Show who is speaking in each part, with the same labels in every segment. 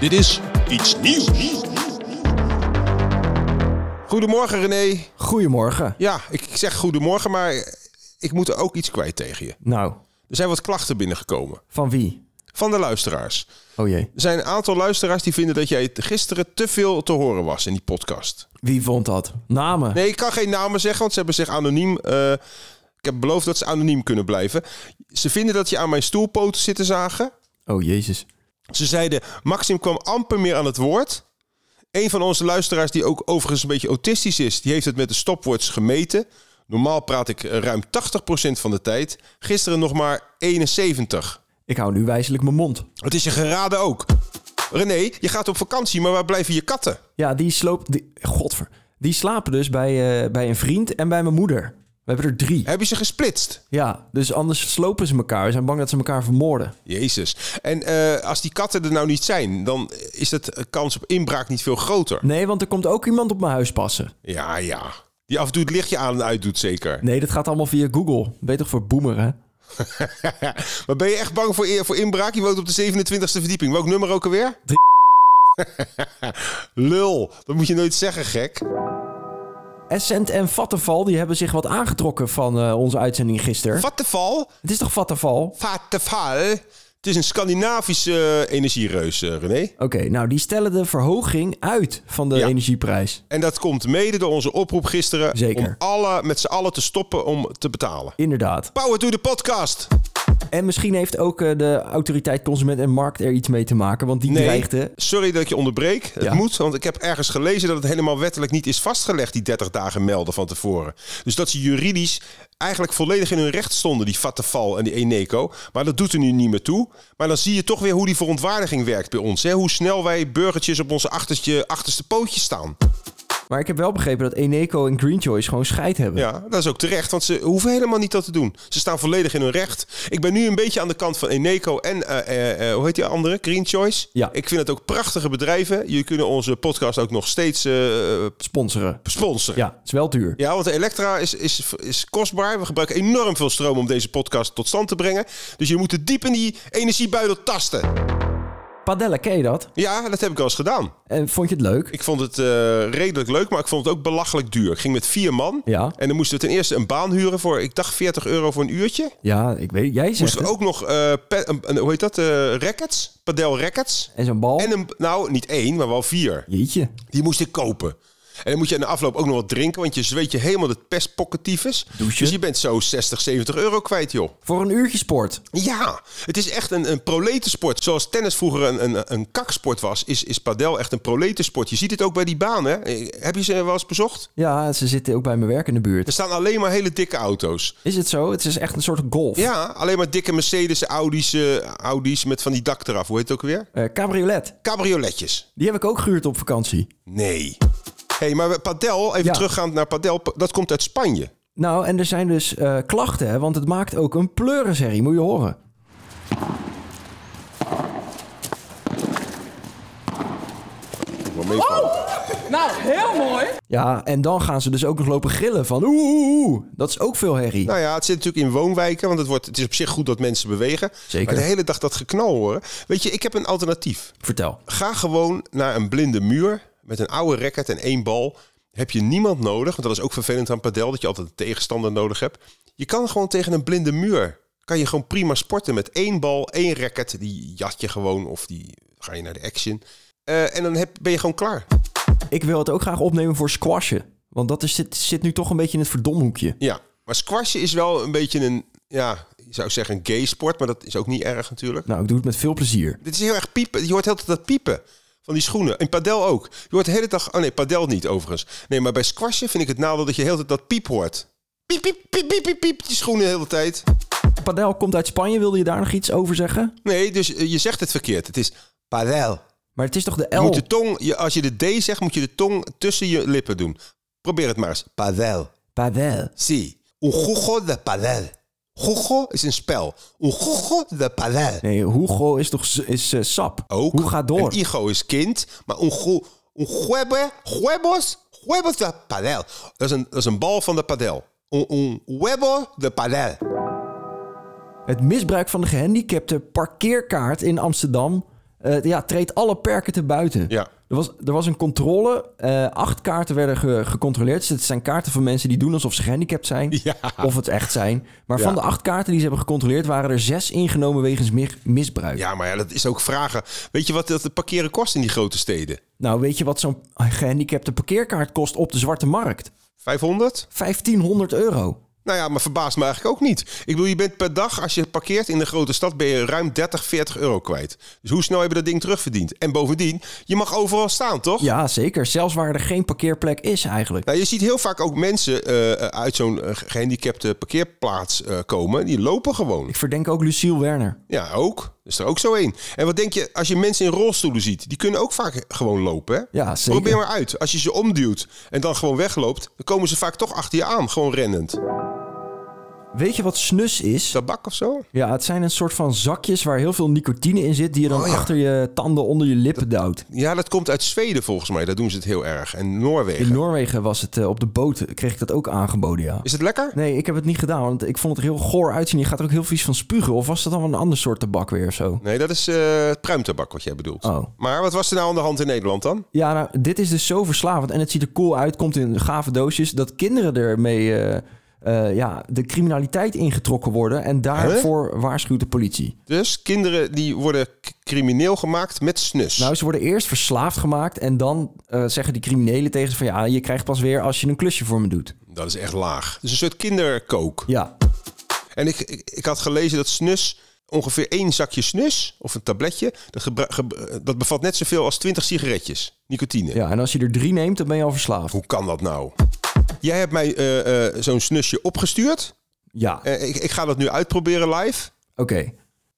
Speaker 1: Dit is iets nieuws. Goedemorgen René.
Speaker 2: Goedemorgen.
Speaker 1: Ja, ik ik zeg goedemorgen, maar ik moet er ook iets kwijt tegen je.
Speaker 2: Nou,
Speaker 1: Er zijn wat klachten binnengekomen
Speaker 2: van wie?
Speaker 1: van de luisteraars.
Speaker 2: Oh jee.
Speaker 1: Er zijn een aantal luisteraars die vinden dat jij gisteren te veel te horen was in die podcast.
Speaker 2: Wie vond dat? Namen?
Speaker 1: Nee, ik kan geen namen zeggen, want ze hebben zich anoniem... eh, ik heb beloofd dat ze anoniem kunnen blijven. Ze vinden dat je aan mijn stoelpoten zitten zagen.
Speaker 2: Oh jezus.
Speaker 1: Ze zeiden, Maxim kwam amper meer aan het woord. Een van onze luisteraars, die ook overigens een beetje autistisch is, die heeft het met de stopwoords gemeten. Normaal praat ik eh, ruim 80% van de tijd. Gisteren nog maar 71.
Speaker 2: Ik hou nu wijzelijk mijn mond.
Speaker 1: Het is je geraden ook. René, je gaat op vakantie, maar waar blijven je katten?
Speaker 2: Ja, die sloopt... Die, godver. Die slapen dus bij, eh, bij een vriend en bij mijn moeder. We hebben er drie.
Speaker 1: Heb je ze gesplitst?
Speaker 2: Ja, dus anders slopen ze elkaar. We zijn bang dat ze elkaar vermoorden.
Speaker 1: Jezus. En eh, als die katten er nou niet zijn, dan is het eh, kans op inbraak niet veel groter.
Speaker 2: Nee, want er komt ook iemand op mijn huis passen.
Speaker 1: Ja, ja. Die af en toe het lichtje aan en uit doet zeker.
Speaker 2: Nee, dat gaat allemaal via Google. Weet toch voor boomer, hè?
Speaker 1: maar ben je echt bang voor, voor inbraak? Je woont op de 27e verdieping. Welk nummer ook alweer?
Speaker 2: Drie.
Speaker 1: Lul, dat moet je nooit zeggen, gek.
Speaker 2: Essent en Vattenval die hebben zich wat aangetrokken van eh, onze uitzending gisteren.
Speaker 1: Vattenval?
Speaker 2: Het is toch Vattenval?
Speaker 1: Vattenval? Het is een Scandinavische eh, energiereus, eh, René.
Speaker 2: Oké, nou die stellen de verhoging uit van de
Speaker 1: Ja.
Speaker 2: energieprijs.
Speaker 1: En dat komt mede door onze oproep gisteren...
Speaker 2: Zeker.
Speaker 1: om alle, met z'n allen te stoppen om te betalen.
Speaker 2: Inderdaad.
Speaker 1: Power to the podcast!
Speaker 2: En misschien heeft ook eh, de autoriteit Consument en Markt er iets mee te maken, want die dreigde.
Speaker 1: sorry dat ik je onderbreek. Het
Speaker 2: Ja.
Speaker 1: moet, want ik heb ergens gelezen dat het helemaal wettelijk niet is vastgelegd... die 30 dagen melden van tevoren. Dus dat ze juridisch eigenlijk volledig in hun recht stonden... die Vattenval en die Eneco. Maar dat doet er nu niet meer toe. Maar dan zie je toch weer hoe die verontwaardiging werkt bij ons. Hè? Hoe snel wij burgertjes op onze achterste, achterste pootjes staan.
Speaker 2: Maar ik heb wel begrepen dat Eneco en Green Choice gewoon scheid hebben.
Speaker 1: Ja, dat is ook terecht, want ze hoeven helemaal niet dat te doen. Ze staan volledig in hun recht. Ik ben nu een beetje aan de kant van Eneco en, eh, eh, eh, hoe heet die andere? Green Choice.
Speaker 2: Ja.
Speaker 1: Ik vind het ook prachtige bedrijven. Jullie kunnen onze podcast ook nog steeds eh,
Speaker 2: Sponsoren.
Speaker 1: sponsoren.
Speaker 2: Ja, is wel duur.
Speaker 1: Ja, want de elektra is, is, is kostbaar. We gebruiken enorm veel stroom om deze podcast tot stand te brengen. Dus je moet er diep in die energiebuidel tasten.
Speaker 2: Padella, ken je dat?
Speaker 1: Ja, dat heb ik wel eens gedaan.
Speaker 2: En vond je het leuk?
Speaker 1: Ik vond het eh, redelijk leuk, maar ik vond het ook belachelijk duur. Ik ging met vier man.
Speaker 2: Ja.
Speaker 1: En dan moesten we ten eerste een baan huren voor, ik dacht 40 euro voor een uurtje.
Speaker 2: Ja, ik weet, jij zegt
Speaker 1: Moesten
Speaker 2: het.
Speaker 1: we ook nog, eh, pe- een- een- hoe heet dat, eh, rackets? Padel rackets.
Speaker 2: En zo'n bal.
Speaker 1: En een, nou, niet één, maar wel vier.
Speaker 2: Jeetje.
Speaker 1: Die moest ik kopen. En dan moet je aan de afloop ook nog wat drinken, want je zweet je helemaal de pestpocketiefes.
Speaker 2: Douchen.
Speaker 1: Dus je bent zo 60, 70 euro kwijt, joh.
Speaker 2: Voor een uurtje sport.
Speaker 1: Ja, het is echt een, een proletensport. Zoals tennis vroeger een, een, een kaksport was, is, is padel echt een proletensport. Je ziet het ook bij die banen. Heb je ze wel eens bezocht?
Speaker 2: Ja, ze zitten ook bij mijn werk in de
Speaker 1: Er
Speaker 2: buurt.
Speaker 1: staan alleen maar hele dikke auto's.
Speaker 2: Is het zo? Het is echt een soort golf.
Speaker 1: Ja, alleen maar dikke Mercedes, Audi's, eh, Audi's met van die dak eraf. Hoe heet het ook weer?
Speaker 2: Eh, cabriolet.
Speaker 1: Cabrioletjes.
Speaker 2: Die heb ik ook gehuurd op vakantie.
Speaker 1: Nee. hey, maar we- padel, even
Speaker 2: Ja.
Speaker 1: teruggaand naar padel, pa- dat komt uit Spanje.
Speaker 2: Nou, en er zijn dus eh, klachten, hè, want het maakt ook een pleurenserie, moet je horen.
Speaker 1: Moet wel meevallen.
Speaker 3: Nou, heel mooi.
Speaker 2: Ja, en dan gaan ze dus ook nog lopen gillen van oeh, oeh, oeh. Dat is ook veel herrie.
Speaker 1: Nou ja, het zit natuurlijk in woonwijken, want het, wordt, het is op zich goed dat mensen bewegen.
Speaker 2: Zeker.
Speaker 1: Maar de hele dag dat geknal horen. Weet je, ik heb een alternatief.
Speaker 2: Vertel.
Speaker 1: Ga gewoon naar een blinde muur met een oude racket en één bal. Heb je niemand nodig, want dat is ook vervelend aan padel, dat je altijd een tegenstander nodig hebt. Je kan gewoon tegen een blinde muur kan je gewoon prima sporten met één bal, één racket. Die jat je gewoon of die ga je naar de action. Eh, en dan heb, ben je gewoon klaar.
Speaker 2: Ik wil het ook graag opnemen voor squashen. Want dat is, zit, zit nu toch een beetje in het verdomhoekje.
Speaker 1: Ja, maar squashen is wel een beetje een, ja, je zou zeggen een gay sport, maar dat is ook niet erg natuurlijk.
Speaker 2: Nou, ik doe het met veel plezier.
Speaker 1: Dit is heel erg piepen. Je hoort heel dat piepen van die schoenen. En padel ook. Je hoort de hele dag... Oh nee, padel niet overigens. Nee, maar bij squashen vind ik het nadeel dat je heel de tijd dat piep hoort. Piep, piep, piep, piep, piep, piep. Die schoenen de hele tijd.
Speaker 2: Padel komt uit Spanje, wilde je daar nog iets over zeggen?
Speaker 1: Nee, dus eh, je zegt het verkeerd. Het is padel.
Speaker 2: Maar het is toch de
Speaker 1: Je
Speaker 2: L?
Speaker 1: moet de tong... Je, als je de D zegt, moet je de tong tussen je lippen doen. Probeer het maar eens. Padel.
Speaker 2: Padel.
Speaker 1: Si. Un juego de padel. Juego is een spel. Un juego de padel.
Speaker 2: Nee, Hugo is toch z- is, eh, sap?
Speaker 1: ook.
Speaker 2: Hoe gaat door?
Speaker 1: En Igo is kind, maar un, ju- un juebe, huevos, huevos de padel. Dat is een, dat is een bal van de padel. Un, un huevo de padel.
Speaker 2: Het misbruik van de gehandicapte parkeerkaart in Amsterdam eh, ja, treedt alle perken te buiten.
Speaker 1: Ja.
Speaker 2: Er, was, er was een controle. eh, acht kaarten werden ge- gecontroleerd. Dus het zijn kaarten van mensen die doen alsof ze gehandicapt zijn.
Speaker 1: Ja.
Speaker 2: Of het echt zijn. Maar
Speaker 1: Ja.
Speaker 2: van de acht kaarten die ze hebben gecontroleerd... waren er zes ingenomen wegens mi- misbruik.
Speaker 1: Ja, maar ja, dat is ook vragen. Weet je wat dat het parkeren kost in die grote steden?
Speaker 2: Nou, weet je wat zo'n gehandicapte parkeerkaart kost op de Zwarte Markt?
Speaker 1: 500?
Speaker 2: 1500 euro.
Speaker 1: Nou ja, maar verbaast me eigenlijk ook niet. Ik bedoel, je bent per dag, als je parkeert in de grote stad, ben je ruim 30, 40 euro kwijt. Dus hoe snel heb je dat ding terugverdiend? En bovendien, je mag overal staan, toch?
Speaker 2: Ja, zeker. Zelfs waar er geen parkeerplek is eigenlijk.
Speaker 1: Nou, je ziet heel vaak ook mensen eh, eh, uit zo'n eh, gehandicapte parkeerplaats eh, komen. Die lopen gewoon.
Speaker 2: Ik verdenk ook Luciel Werner.
Speaker 1: Ja, ook. Is er ook zo één. En wat denk je, als je mensen in rolstoelen ziet, die kunnen ook vaak gewoon lopen. Hè?
Speaker 2: Ja, zeker.
Speaker 1: Probeer maar uit. Als je ze omduwt en dan gewoon wegloopt, dan komen ze vaak toch achter je aan, gewoon rennend.
Speaker 2: Weet je wat snus is?
Speaker 1: Tabak of zo?
Speaker 2: Ja, het zijn een soort van zakjes waar heel veel nicotine in zit... die je dan
Speaker 1: Oh, ja.
Speaker 2: achter je tanden onder je lippen duwt.
Speaker 1: Ja, dat komt uit Zweden volgens mij. Daar doen ze het heel erg. En Noorwegen.
Speaker 2: In Noorwegen was het eh, op de boot, kreeg ik dat ook aangeboden, ja.
Speaker 1: Is het lekker?
Speaker 2: Nee, ik heb het niet gedaan, want ik vond het er heel goor uitzien. Je gaat er ook heel vies van spugen. Of was dat dan wel een ander soort tabak weer of zo?
Speaker 1: Nee, dat is eh, pruimtabak wat jij bedoelt.
Speaker 2: Oh.
Speaker 1: Maar wat was er nou aan de hand in Nederland dan?
Speaker 2: Ja, nou, dit is dus zo verslavend. En het ziet er cool uit, komt in gave doosjes. Dat kinderen ermee eh, eh, ja, de criminaliteit ingetrokken worden. En daarvoor waarschuwt de politie.
Speaker 1: Dus kinderen die worden k- crimineel gemaakt met snus.
Speaker 2: Nou, ze worden eerst verslaafd gemaakt. En dan eh, zeggen die criminelen tegen ze van... ja, je krijgt pas weer als je een klusje voor me doet.
Speaker 1: Dat is echt laag. Dus een soort kinderkook.
Speaker 2: Ja,
Speaker 1: En ik, ik, ik had gelezen dat snus, ongeveer één zakje snus of een tabletje, dat, gebra- ge- dat bevat net zoveel als 20 sigaretjes nicotine.
Speaker 2: ja, en als je er drie neemt, dan ben je al verslaafd.
Speaker 1: Hoe kan dat nou? Jij hebt mij eh, eh, zo'n snusje opgestuurd.
Speaker 2: Ja, oké.
Speaker 1: Eh, ik, ik ga dat nu uitproberen live.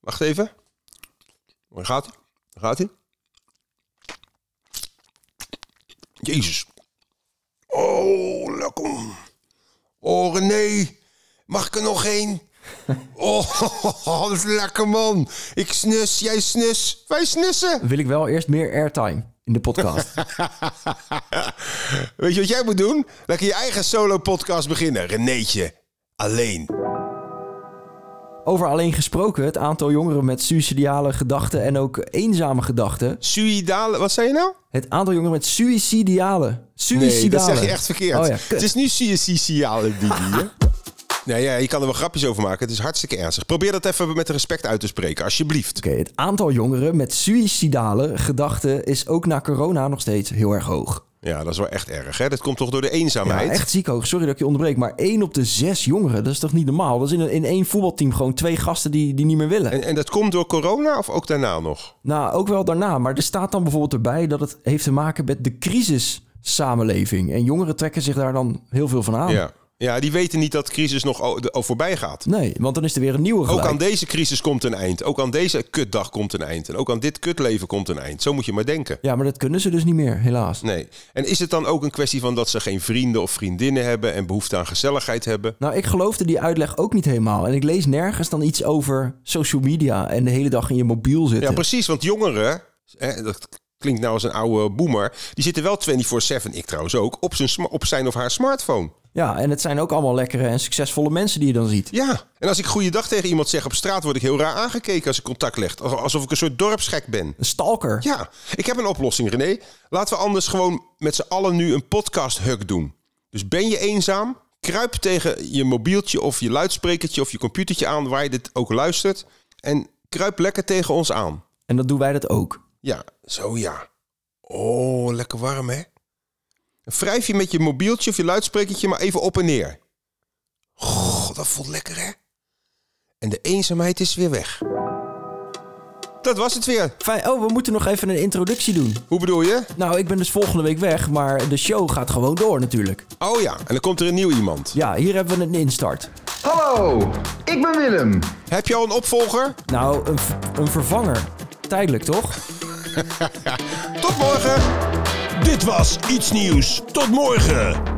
Speaker 1: Wacht even. Waar gaat hij? Waar gaat hij? Jezus. Oh, lekker. Oh, René. Mag ik er nog één? Oh, dat is lekker, man. Ik snus, jij snus. Wij snussen.
Speaker 2: Dan wil ik wel eerst meer airtime in de podcast.
Speaker 1: Weet je wat jij moet doen? Lekker je eigen solo-podcast beginnen. Renéetje. Alleen.
Speaker 2: Over alleen gesproken, het aantal jongeren met suïcidale gedachten... en ook eenzame gedachten...
Speaker 1: Suïdale. Wat zei je nou?
Speaker 2: Het aantal jongeren met suïcidale. Suïcidale.
Speaker 1: Nee, dat zeg je echt verkeerd.
Speaker 2: Oh ja, kut.
Speaker 1: het is nu CSC-siale die hier. Nou ja, je kan er wel grapjes over maken. Het is hartstikke ernstig. Probeer dat even met respect uit te spreken, alsjeblieft.
Speaker 2: Oké, het aantal jongeren met suïcidale gedachten is ook na corona nog steeds heel erg hoog.
Speaker 1: Ja, dat is wel echt erg. Hè? Dat komt toch door de
Speaker 2: Ja,
Speaker 1: eenzaamheid?
Speaker 2: echt ziek hoog. Sorry dat ik je onderbreek, maar één op de zes jongeren, dat is toch niet normaal? Dat is in, een, in één voetbalteam gewoon twee gasten die, die niet meer willen.
Speaker 1: En, en dat komt door corona of ook daarna nog?
Speaker 2: Nou, ook wel daarna, maar er staat dan bijvoorbeeld erbij dat het heeft te maken met de crisissamenleving. En jongeren trekken zich daar dan heel veel van aan.
Speaker 1: Ja. ja, die weten niet dat de crisis nog o- de- o- voorbij gaat.
Speaker 2: Nee, want dan is er weer een nieuwe
Speaker 1: Ook
Speaker 2: gelijk.
Speaker 1: aan deze crisis komt een eind. Ook aan deze kutdag komt een eind. En ook aan dit kutleven komt een eind. Zo moet je maar denken.
Speaker 2: Ja, maar dat kunnen ze dus niet meer, helaas.
Speaker 1: Nee. En is het dan ook een kwestie van dat ze geen vrienden of vriendinnen hebben en behoefte aan gezelligheid hebben?
Speaker 2: Nou, ik geloofde die uitleg ook niet helemaal. En ik lees nergens dan iets over social media en de hele dag in je mobiel zitten.
Speaker 1: Ja, precies. Want jongeren, hè, dat klinkt nou als een oude boomer, die zitten wel 24-7, ik trouwens ook, op zijn, sma- op zijn of haar smartphone.
Speaker 2: Ja, en het zijn ook allemaal lekkere en succesvolle mensen die je dan ziet.
Speaker 1: Ja. En als ik goeiedag tegen iemand zeg op straat, word ik heel raar aangekeken als ik contact leg. Al- Alsof ik een soort dorpsgek ben.
Speaker 2: Een stalker.
Speaker 1: Ja, ik heb een oplossing, René. Laten we anders gewoon met z'n allen nu een podcast-hug doen. Dus ben je eenzaam? kruip tegen je mobieltje of je luidsprekertje of je computertje aan waar je dit ook luistert. En kruip lekker tegen ons aan.
Speaker 2: En dat doen wij dat ook.
Speaker 1: Ja, zo ja. Oh, lekker warm hè? Wrijf je met je mobieltje of je luidsprekertje maar even op en neer. Goh, dat voelt lekker hè? En de eenzaamheid is weer weg. Dat was het weer.
Speaker 2: Fijn. Oh, we moeten nog even een introductie doen.
Speaker 1: Hoe bedoel je?
Speaker 2: Nou, ik ben dus volgende week weg, maar de show gaat gewoon door natuurlijk.
Speaker 1: Oh ja, en dan komt er een nieuw iemand.
Speaker 2: Ja, hier hebben we een instart.
Speaker 4: Hallo, ik ben Willem.
Speaker 1: Heb je al een opvolger?
Speaker 2: Nou, een, v- een vervanger. Tijdelijk toch?
Speaker 1: Tot morgen! Dit was Iets Nieuws. Tot morgen!